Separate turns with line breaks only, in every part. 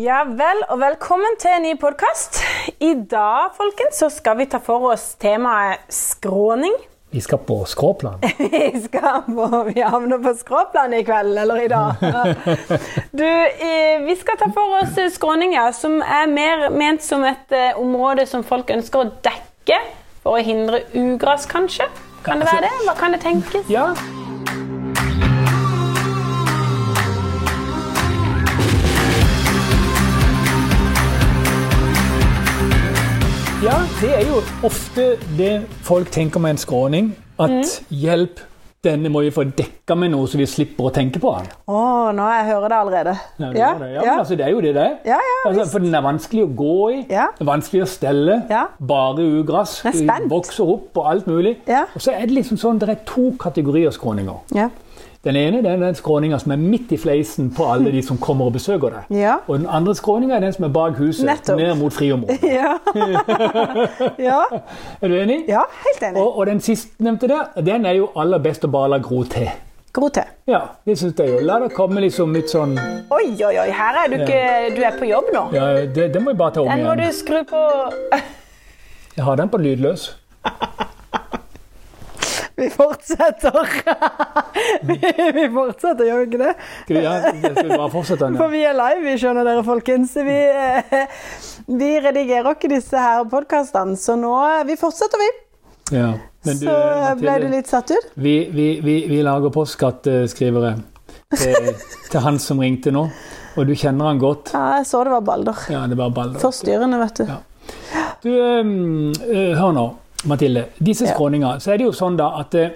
Ja vel, og velkommen til en ny podkast. I dag folkens, så skal vi ta for oss temaet skråning.
Vi skal på skråplan.
Vi skal på, vi havner på skråplanet i kveld, eller i dag. Du, eh, vi skal ta for oss skråning, ja, som er mer ment som et eh, område som folk ønsker å dekke for å hindre ugras, kanskje. Kan det være det? Hva kan det tenkes?
Ja. Ja, det er jo ofte det folk tenker med en skråning. At hjelp, denne må vi få dekka med noe, så vi slipper å tenke på den.
Å, nå jeg hører det allerede.
Ja, det, var det. ja, men altså, det er jo det det er.
Ja, ja,
altså, for den er vanskelig å gå i,
Ja.
vanskelig å stelle,
Ja.
bare ugress.
Jeg er spent.
Vokser opp og alt mulig.
Ja.
Og så er det liksom sånn, det er to kategorier skråninger.
Ja.
Den ene det er den skråninga som er midt i fleisen på alle de som kommer og besøker deg.
Ja.
Og den andre skråninga er den som er bak huset,
Nettopp.
ned mot friområdet.
Ja. ja.
Er du enig?
ja, helt enig.
Og, og den sistnevnte der, den er jo aller best å bare la gro til.
Gro til.
Ja, det syns jeg jo. La det komme liksom litt sånn
Oi, oi, oi, her er du ikke Du er på jobb nå.
Ja, det, det må vi bare ta om
Den må
igjen.
du skru på
Jeg har den på lydløs.
Vi fortsetter. vi fortsetter, gjør vi ikke det?
Skal vi, ja, skal vi bare fortsette den? ja?
For vi er live, vi skjønner dere, folkens. Vi, eh, vi redigerer ikke disse her podkastene, så nå eh, Vi fortsetter, vi.
Ja. Men du,
Så eh, ble
Mathilde,
du litt satt ut?
vi, vi, vi, vi lager postkattskrivere til, til han som ringte nå, og du kjenner han godt.
Ja, jeg så det var Balder.
Ja, det var Balder.
Forstyrrende, vet du.
Ja. Du, øhm, øh, hør nå, Mathilde. Disse
Ja.
skråninger, så er det jo sånn da at eh,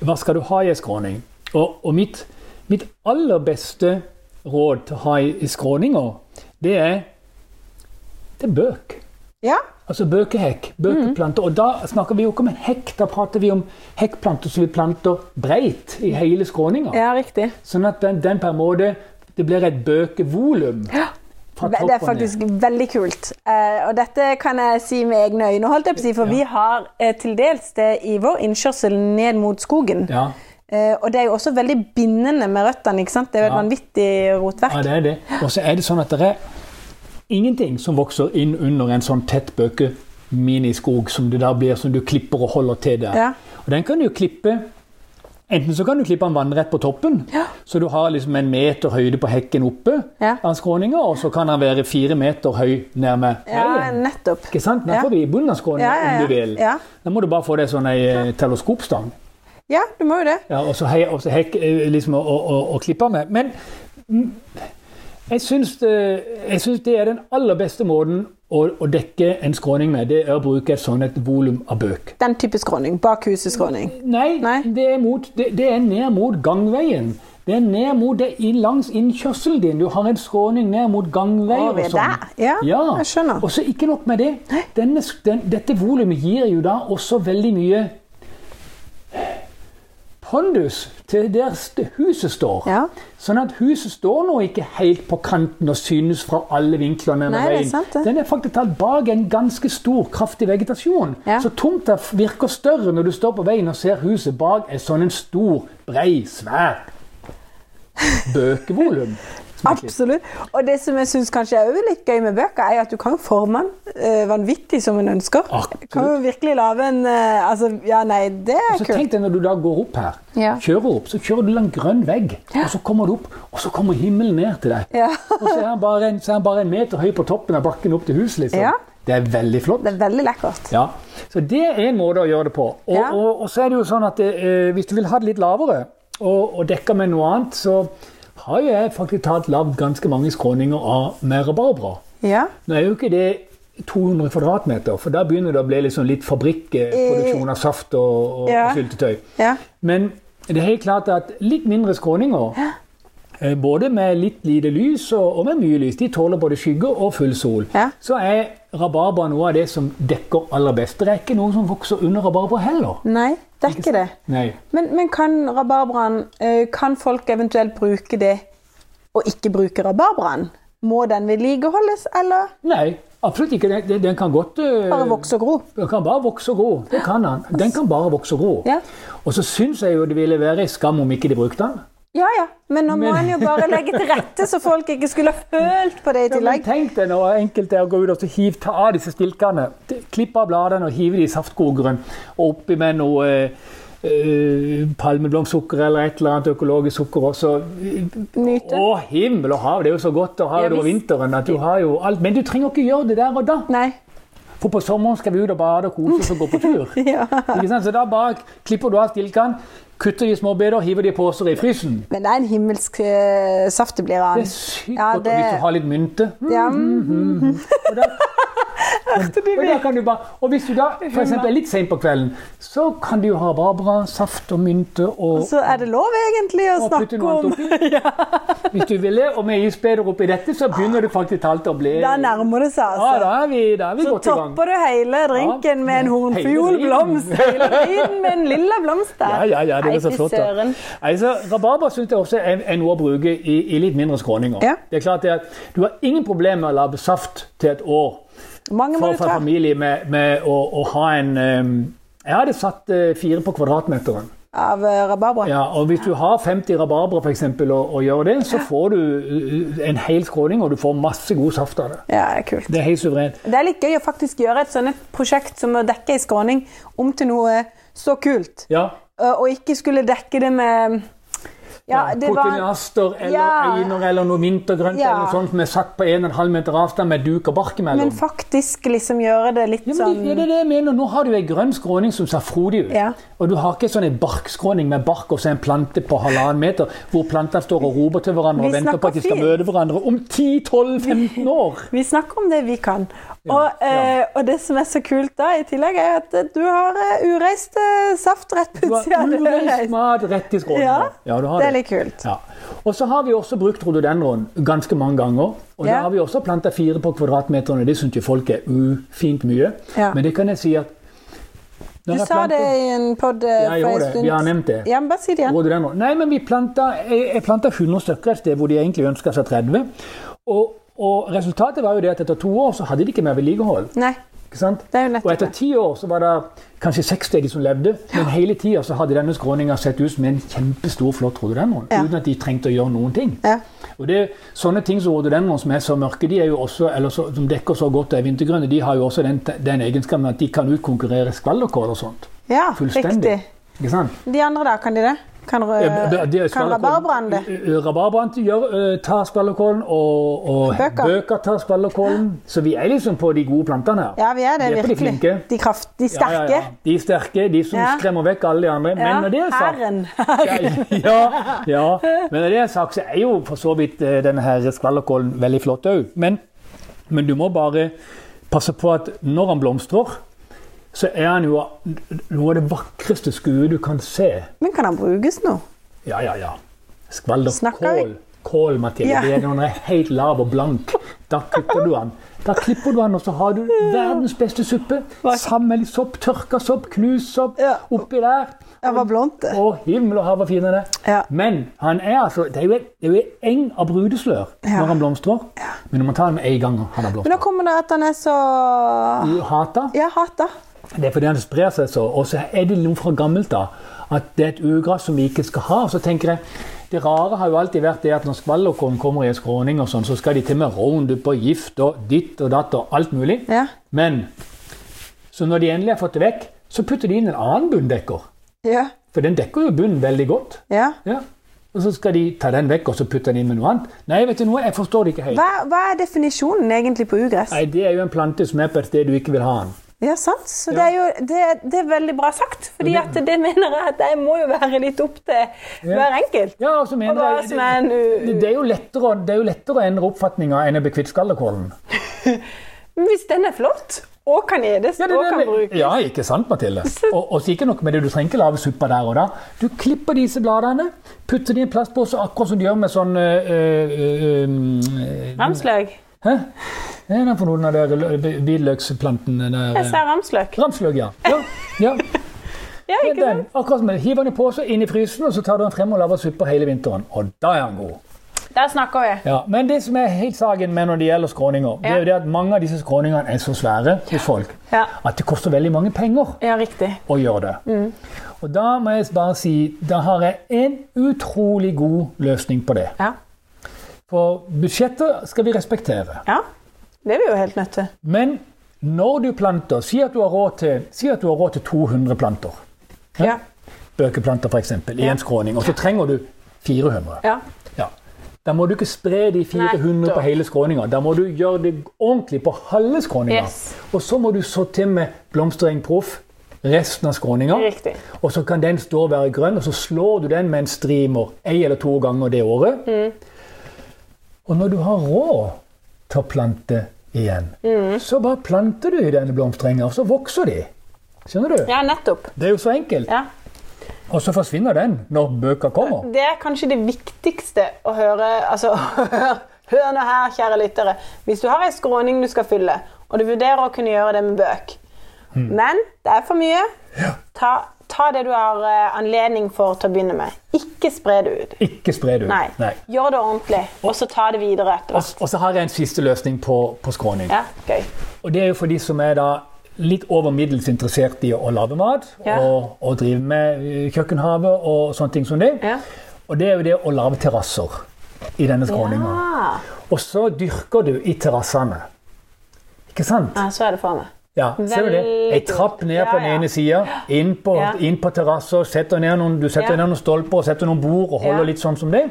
hva skal du ha i en skråning? Og, og mitt, mitt aller beste råd til å ha i, i skråninger, det er det er bøk.
Ja.
Altså bøkehekk, bøkeplanter. Og da snakker vi jo ikke om en hekk, da prater vi om hekkplanter som vi planter breit i hele skråninga.
ja, riktig.
Sånn at den, den på en måte Det blir et bøkevolum. fra
Ve- Det
topp og
er
ned.
faktisk veldig kult. Eh, og dette kan jeg si med egne øyne, holdt jeg på å si, for
Ja.
vi har eh, til dels det i vår innkjørsel ned mot skogen.
Ja.
Eh, og det er jo også veldig bindende med røttene. ikke sant? Det er jo et
Ja.
vanvittig rotverk.
ja, det er det. Og så er det sånn at det er ingenting som vokser inn under en sånn tett bøkeminiskog som det der blir som du klipper og holder til der.
Ja.
Og den kan du jo klippe Enten så kan du klippe den vannrett på toppen,
Ja.
så du har liksom en meter høyde på hekken oppe,
Ja.
av skråninga, og så kan den være fire meter høy nærme
Ja,
veien.
nettopp.
Ikke sant? Den
Ja.
får du i bunnen av skråninga
Ja, ja, ja.
om du vil.
Ja.
Da må du bare få deg sånn ei eh, teleskopstang.
Ja, du må jo det.
Ja, og så hei, og så hekk, eh, liksom, å, å, å klippe med. Men mm, jeg syns, det, jeg syns det er den aller beste måten å, å dekke en skråning med. Det er å bruke et sånt et volum av bøk.
Den type skråning. Bak huset skråning.
Nei,
Nei.
Det, er mot, det, det er ned mot gangveien. Det er ned mot det i, langs innkjørselen din. Du har en skråning ned mot
Å,
gangveien.
vi er
og sånn.
der. Ja, jeg skjønner.
Og så ikke nok med det. Denne, sk- den, dette volumet gir jo da også veldig mye pondus til der st- huset står.
Ja.
Sånn at huset står nå ikke helt på kanten og synes fra alle vinklene.
Nei,
med
det er
veien.
sant det.
Den er faktisk tatt bak en ganske stor, kraftig vegetasjon.
Ja.
Så tomta f- virker større når du står på veien og ser huset bak en sånn en stor, brei, svær bøkevolum. som er klippet.
Absolutt. Og det som jeg syns kanskje er også litt gøy med bøker, er at du kan jo forme den eh, vanvittig som en ønsker.
Absolutt.
Du kan jo virkelig lage en eh, Altså, ja, nei, det er
Så
kult.
tenk deg når du da går opp her,
Ja.
kjører opp, så kjører du langs grønn vegg, og så kommer du opp, og så kommer himmelen ned til deg.
Ja.
Og så er han bare en, så er han bare en meter høy på toppen av bakken opp til huset, liksom.
Ja.
Det er veldig flott.
Det er veldig lekkert.
Ja, så det er en måte å gjøre det på. Og,
Ja.
og, og så er det jo sånn at eh, hvis du vil ha det litt lavere og, og dekke med noe annet, så har jo jeg faktisk tatt lagd ganske mange skråninger av med rabarbra.
Ja.
Nå er jo ikke det 200 kvadratmeter, for da begynner det å bli liksom litt fabrikkproduksjon av saft og, og,
Eh, Ja.
og syltetøy.
ja.
Men det er helt klart at litt mindre skråninger, eh, både med litt lite lys og, og med mye lys, de tåler både skygge og full sol.
Ja.
Så er rabarbra noe av det som dekker aller best. Det er ikke noe som vokser under rabarbra heller.
Nei, det er ikke det.
Nei.
Men, men kan rabarbraen eh, Kan folk eventuelt bruke det og ikke bruke rabarbraen? Må den vedlikeholdes, eller
Nei, absolutt ikke. Den- Den, den kan godt eh,
bare vokse og gro?
Den kan bare vokse og gro. Det kan han. Den kan bare vokse og gro.
Ja.
Og så syns jeg jo det ville være skam om ikke de brukte den.
Ja ja, men nå må
Men-
en jo bare legge til rette så folk ikke skulle ha følt på det i
Ja, men
tillegg.
tenk deg når enkelte går ut og så hiv, ta av disse stilkene, t- klipp av bladene og hiv de i saftkorgeren, og oppi med noe eh, eh, palmeblomstsukker eller et eller annet økologisk sukker også.
Nyte.
Å, himmel og hav, det er jo så godt å ha
Ja,
det over
visst.
vinteren. at du har jo alt. Men du trenger ikke gjøre det der og da,
Nei.
for på sommeren skal vi ut og bade og kose oss og gå på tur.
Ja.
Ikke sant? Så da bare klipper du av stilkene, kutter de i småbiter, hiver de i poser i frysen.
Men det er en himmelsk eh, saft det blir av.
Det er sykt
Ja,
godt, og hvis
det-
du har litt mynte. Mm.
Ja. Hørte du
Og,
det?
da kan du bare, og hvis du da for eksempel, er litt sent på kvelden, så kan du jo ha barbara, saft og mynte og,
Så er det lov egentlig å
og putte
snakke
noe
om
annet oppi. Hvis du ville, og med isbeder oppi dette, så begynner det faktisk alt å bli
Da nærmer det seg,
Ja, da
altså.
er vi, da er vi
Så
godt i gang.
topper du hele drinken med en
Ja.
hornfiolblomst. Hele driten med en lilla blomst der.
Ja, ja, ja, det
Nei,
er så
fy
flott. Da.
søren.
Nei, så Rabarbra syns jeg også er, er noe å bruke i, i litt mindre skråninger.
Ja.
Det er klart det at Du har ingen problemer med å lage saft til et år.
Mange må
for,
du
for
ta.
familie med, med å, å ha en ehm, Jeg hadde satt eh, fire på kvadratmeteren.
Av eh, rabarbra.
Ja, og Hvis du har 50 rabarbra for eksempel, og, og gjør det, så får du eh, en hel skråning, og du får masse god saft av det.
Ja, det er kult.
Det er helt suverent.
Det er litt gøy å faktisk gjøre et sånt prosjekt som å dekke ei skråning om til noe så kult.
Ja.
Eh, Og ikke skulle dekke det med Ja, det var
Kotinaster eller
Ja.
einer eller noe vintergrønt
Ja.
eller noe sånt som er satt på 1,5 meter avstand med duk og bark imellom.
Men faktisk liksom gjøre det litt
Ja, men
sånn
det, det er det jeg mener. Nå har du ei grønn skråning som ser frodig ut.
Ja.
Og du har ikke sånn en barkskråning med bark og så en plante på halvannen meter, hvor plantene står og roper til hverandre
Vi
og venter på at de skal
snakker fint.
møte hverandre om 10-12-15 år.
Vi snakker om det vi kan. og,
ja.
eh, og det som er så kult da, i tillegg, er at eh, du har eh, ureist eh, saft rett på
Du
utsida.
har
av
ureist
døra.
mat rett i skråningen.
Ja,
du har
det er litt kult.
Ja. Og så har vi også brukt rhododendron ganske mange ganger. Og
Ja.
da har vi også planta fire på kvadratmeteren, og det syns jo folk er ufint mye.
Ja.
Men det kan jeg si at når
Du
jeg
sa
planter-
det i en pod
Ja, jeg gjorde det. Vi har nevnt det.
Ja, men bare si det igjen.
Rhododendron. Nei, men vi planta, jeg, jeg planta 100 stykker et sted hvor de egentlig ønska seg 30. Og, og resultatet var jo det at etter to år så hadde de ikke mer vedlikehold.
Nei,
Ikke sant?
det er jo
Og
nettopp
etter
det.
ti år så var det kanskje seks av de som levde, men hele tida så hadde denne skråninga sett ut som en kjempestor, flott rhododendron.
Ja.
Uten at de trengte å gjøre noen ting.
Ja.
Og det, Sånne ting som rhododendron som er så mørke, de er jo også, eller så, som dekker så godt og er vintergrønne, de har jo også den, den egenskapen at de kan utkonkurrere skvalderkål og sånt.
ja,
Fullstendig.
riktig.
Ikke sant?
De andre da, kan de det? Kan, rø-
Ja, det- det er
Eh, kan
skvallerkål.
rabarbraen det?
Ø- ø, Rabarbraen gjør, ø, tar skvallerkålen, og, og
Bøker.
bøker. tar skvallerkålen. Så vi er liksom på de gode plantene her.
Ja, vi er det,
Vi er på de
virkelig.
flinke.
De, kraft, de sterke.
Ja, ja, ja. De er sterke, de som
Ja.
skremmer vekk alle de andre. Men når det er sagt,
Herren.
ja, ja. Men når det er sagt, så er jo for så vidt eh, denne her skvallerkålen veldig flott òg. Men, men du må bare passe på at når han blomstrer, så er han jo noe av det vakreste skue du kan se.
Men kan han brukes nå?
Ja, ja, ja. Skvalder
Snakker vi?
kål. Kål, Mathilde.
Ja.
Det er når den er helt lav og blank. Da kutter du den. Da klipper du den, og så har du verdens beste suppe.
Hva-
Sammen med litt sopp, tørka sopp, knust sopp
Ja.
oppi der.
Det var blondt, det.
Å, himmel og hav og fine det.
Ja.
Men han er altså, det er jo en, det er jo en eng av brudeslør
Ja.
når han blomstrer. Men du må ta den med en gang han har
Men nå
blomstret.
kommer det at han er så
Du hater.
Ja, hata.
Det er fordi han sprer seg så. Og så er det noe fra gammelt da, at det er et ugress som vi ikke skal ha. Så tenker jeg, Det rare har jo alltid vært det at når skvallerkorn kommer i en skråning, og sånn, så skal de til med roundup og gift og ditt og datt og alt mulig.
Ja.
Men så når de endelig har fått det vekk, så putter de inn en annen bunndekker.
Ja.
For den dekker jo bunnen veldig godt.
ja.
Ja. Og så skal de ta den vekk og så putte den inn med noe annet. Nei, vet du noe, jeg forstår det ikke helt.
Hva, hva er definisjonen egentlig på ugress?
Nei, Det er jo en plante som er på et sted du ikke vil ha den.
Ja, sant? Så
Ja.
det er jo det, det er veldig bra sagt. fordi at det mener jeg at det må jo være litt opp til hver enkelt.
Ja, og så
Og
mener
hva
jeg...
som er en
Det,
u...
det, er jo lettere, å- det er jo lettere å endre oppfatninga enn å bli kvitt skallerkålen.
Men Hvis den er flott, og kan edes, og kan brukes
ja, ikke sant, Mathilde? Og, og så ikke nok med det, du trenger ikke lage suppa der og da. Du klipper disse bladene, putter de i en plastpose, akkurat som du gjør med sånn øh, øh, øh,
Ramsløk.
Hæ? Hva er den for noen av de der lø- hvitløksplanten der?
Jeg sa ramsløk.
Ramsløk, ja. ja, ja.
Ja,
Det er
ikke
den.
sant?
Akkurat som det. Hiv den i pose, inn i frysen, og så tar du den frem og lager supper hele vinteren. Og da er den god.
Der snakker vi.
Ja, men det som er helt saken med når det gjelder skråninger, det er jo det at mange av disse skråningene er så svære hos folk
Ja.
at det koster veldig mange penger
Ja, riktig.
å gjøre det. Og da må jeg bare si da har jeg en utrolig god løsning på det.
Ja.
For budsjetter skal vi respektere.
ja. Det er vi jo helt nødt til.
Men når du planter Si at du har råd til, si at du har råd til 200 planter.
Ja.
Bøkeplanter, f.eks. I
Ja.
en skråning. Og så trenger du 400.
ja.
Ja. Da må du ikke spre de 400
Nettopp.
på hele skråninga. Da må du gjøre det ordentlig på halve skråninga.
Yes.
Og så må du så til med blomstereng proff resten av skråninga.
Riktig.
Og så kan den stå og være grønn, og så slår du den med en streamer ei eller to ganger det året.
Mm.
Og når du har råd til å plante igjen,
Mm.
så bare planter du i denne blomsterenga, og så vokser de. Skjønner du?
Ja, nettopp.
Det er jo så enkelt.
Ja.
Og så forsvinner den når bøker kommer.
Det er kanskje det viktigste å høre altså, hør, hør nå her, kjære lyttere. Hvis du har ei skråning du skal fylle, og du vurderer å kunne gjøre det med bøk,
Hmm.
men det er for mye, ta, ta det du har eh, anledning for til å begynne med. Ikke spre det ut.
Ikke spre det ut.
Nei.
Nei.
Gjør det ordentlig, og så ta det videre etter
Og,
hvert.
og så har jeg en siste løsning på, på skråning.
Ja, gøy.
Og det er jo for de som er da litt over middels interessert i å lage mat
Ja.
og, og drive med eh, kjøkkenhave og sånne ting som det.
Ja.
Og det er jo det å lage terrasser i denne skråninga.
Ah,
Og så dyrker du i terrassene. Ikke sant?
ja, så er det for meg.
Ja, ser du det?
Veldig
Ei trapp ned
kult. Ja,
på den
ja.
ene sida, inn på,
Ja.
inn på terrasser, setter ned noen, du setter
Ja.
ned noen stolper og setter noen bord og holder
Ja.
litt sånn som det.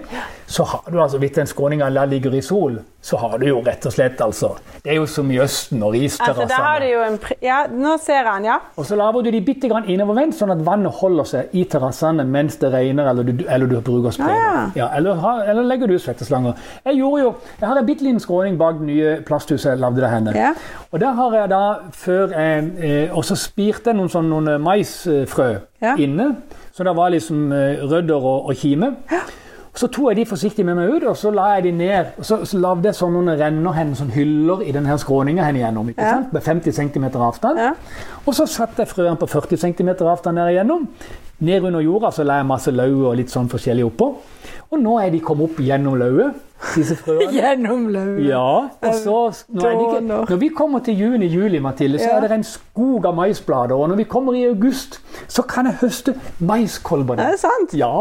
Så har du altså, hvis den skråninga la ligger i sol, så har du jo rett og slett altså Det er jo som i Østen og
Altså,
risterrassene.
der har du jo en pri ja, nå ser jeg den, ja.
Og så lager du de bitte grann innovervendt, sånn at vannet holder seg i terrassene mens det regner eller du, eller du bruker sprayer.
Ah, ja.
eller, ha- eller legger du ut svetteslanger. Jeg gjorde jo, jeg har en bitte liten skråning bak det nye plasthuset jeg lagde der henne.
Ja.
Og der har jeg da før jeg, eh, Og så spirte jeg noen sånn noen eh, maisfrø
Ja.
inne, så det var liksom eh, rødder og, og kime. Så tok jeg de forsiktig med meg ut, og så la jeg de ned. og Så, så lagde jeg sånn noen renner hen, sånn hyller i denne skråninga hen igjennom. ikke
Ja.
sant? Med 50 cm avstand.
Ja.
Og så satte jeg frøene på 40 cm avstand ned igjennom. Ned under jorda så la jeg masse lauv og litt sånn forskjellig oppå. Og nå er de kommet opp gjennom lauvet, disse frøene.
Gjennom løven.
Ja, og så når, er det ikke,
Dåner.
når vi kommer til juni-juli, Mathilde, så
Ja.
er det en skog av maisblader. Og når vi kommer i august, så kan jeg høste maiskolbene.
Er det sant?
Ja.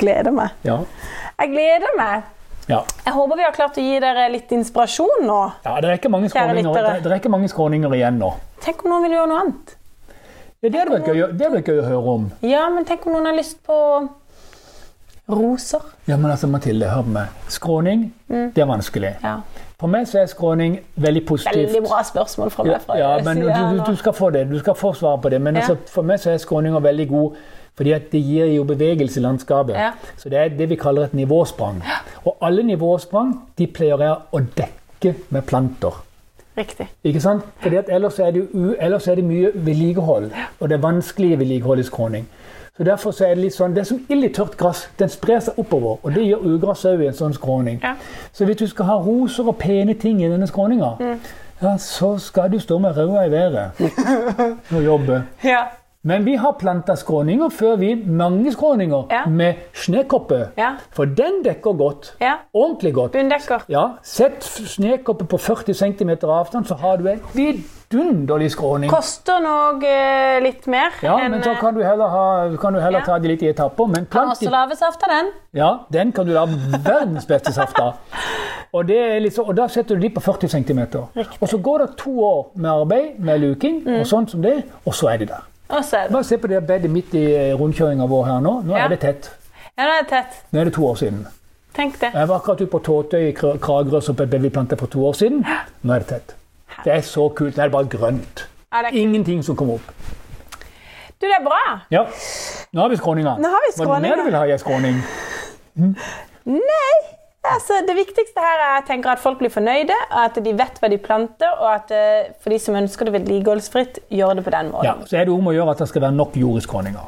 Gleder meg.
Ja.
Jeg gleder meg.
ja.
Jeg håper vi har klart å gi dere litt inspirasjon nå.
ja det, er ikke mange
Kjære
skråninger,
lyttere.
det, det er ikke mange skråninger igjen nå.
Tenk om noen vil gjøre noe annet.
Ja, det hadde vært gøy, å- det hadde vært gøy å høre om.
Ja, men tenk om noen har lyst på roser.
Ja, men altså, Mathilde, hør på meg. Skråning,
Mm.
det er vanskelig.
Ja.
For meg så er skråning veldig positivt.
Veldig bra spørsmål fra meg. Fra
Ja, men du,
siden her
du,
nå.
du skal få det. Du skal få svar på det. Men
Ja.
altså, for meg så er skråninger veldig god, fordi at det gir jo bevegelse i landskapet.
Ja.
Så det er det vi kaller et nivåsprang. Og alle nivåsprang de pleier jeg å dekke med planter.
Riktig.
Ikke sant? Fordi at ellers er det, jo u, ellers er det mye vedlikehold, og det er vanskelig vedlikehold i skråning. Så derfor så er Det litt sånn, det er som ild i tørt gress. Den sprer seg oppover, og det gjør ugress òg i en sånn skråning.
Ja.
Så hvis du skal ha roser og pene ting i denne skråninga, ja, så skal du stå med ræva i været og jobbe.
Ja.
Men vi har planta skråninger før vi mange skråninger
Ja.
med snøkoppe.
Ja.
For den dekker godt.
Ja.
Ordentlig godt.
Bunndekker.
Ja, Sett f- snøkoppen på 40 cm avstand, så har du en vidunderlig skråning.
Koster nok eh, litt mer
Ja,
enn
men så kan du heller, ha, kan du heller
eh, Ja.
ta de litt i etapper.
kan
Men plant
også
i,
lages av den.
ja, den kan du lage verdens beste saft av. Og, det er litt så- og da setter du de på 40 cm. Og så går det to år med arbeid med luking,
Mm.
og sånn som det, og så er de der.
Og så er det.
Bare se på det bedet midt i rundkjøringa vår her nå. Nå
Ja.
er det tett.
Ja, det er tett.
Nå er det to år siden.
Tenk det.
Jeg var akkurat ute på Tåtøy i Kra- Kragerø som ble planta for to år siden. Nå er det tett. Det er så kult. Nå er det bare grønt.
Ja, det er kult.
Ingenting som kommer opp.
Du, det er bra.
Ja, Nå har vi skråninga.
Nå har vi
Var det
skråninga.
mer du vil ha i en skråning?
Altså, det viktigste her er jeg tenker at folk blir fornøyde, og at de vet hva de planter, og at eh, for de som ønsker det vedlikeholdsfritt, gjør det på den
Ja,
måten.
så er det om å gjøre at det skal være nok jord i skråninga.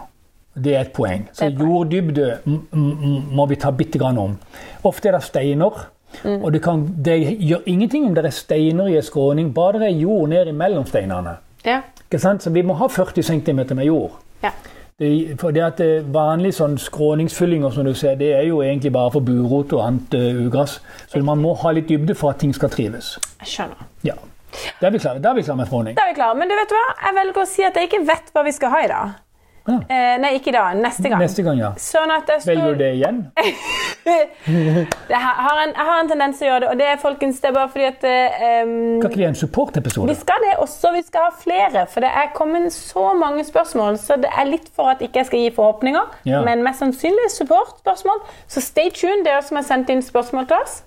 Det er et poeng. Så
Det er et poeng.
jorddybde m- m- må vi ta bitte grann om. Ofte er det steiner.
Mm.
Og det, kan, det gjør ingenting om det er steiner i en skråning, bare det er jord ned imellom steinene.
Ja.
Ikke sant? Så vi må ha 40 cm med jord.
Ja.
Det, for det at det Vanlig sånn skråningsfylling og som du ser, det er jo egentlig bare for burot og annet eh, ugress. Så man må ha litt dybde for at ting skal trives.
Jeg skjønner.
Ja. Da er vi klare, da er vi klare med skråning.
Da er vi klare. Men du vet hva? jeg velger å si at jeg ikke vet hva vi skal ha i dag.
Ja.
Eh, nei, ikke i dag. Neste gang.
Neste gang, ja.
Sånn at det
Velger
står
du det igjen?
det her, har en, Jeg har en tendens til å gjøre det, og det er folkens, det er bare fordi at eh, em,
Skal ikke vi ha en
vi
supportepisode?
skal det også, vi skal ha flere, for det er kommet så mange spørsmål. Så det er litt for at ikke jeg skal gi forhåpninger,
Ja.
men mest sannsynlig supportspørsmål. Så stay tuned, dere som har sendt inn spørsmål til oss.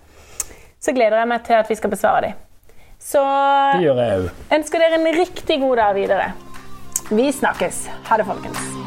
Så gleder jeg meg til at vi skal besvare dem. Så
Det gjør jeg òg.
ønsker dere en riktig god dag videre. Vi snakkes. Ha det, folkens.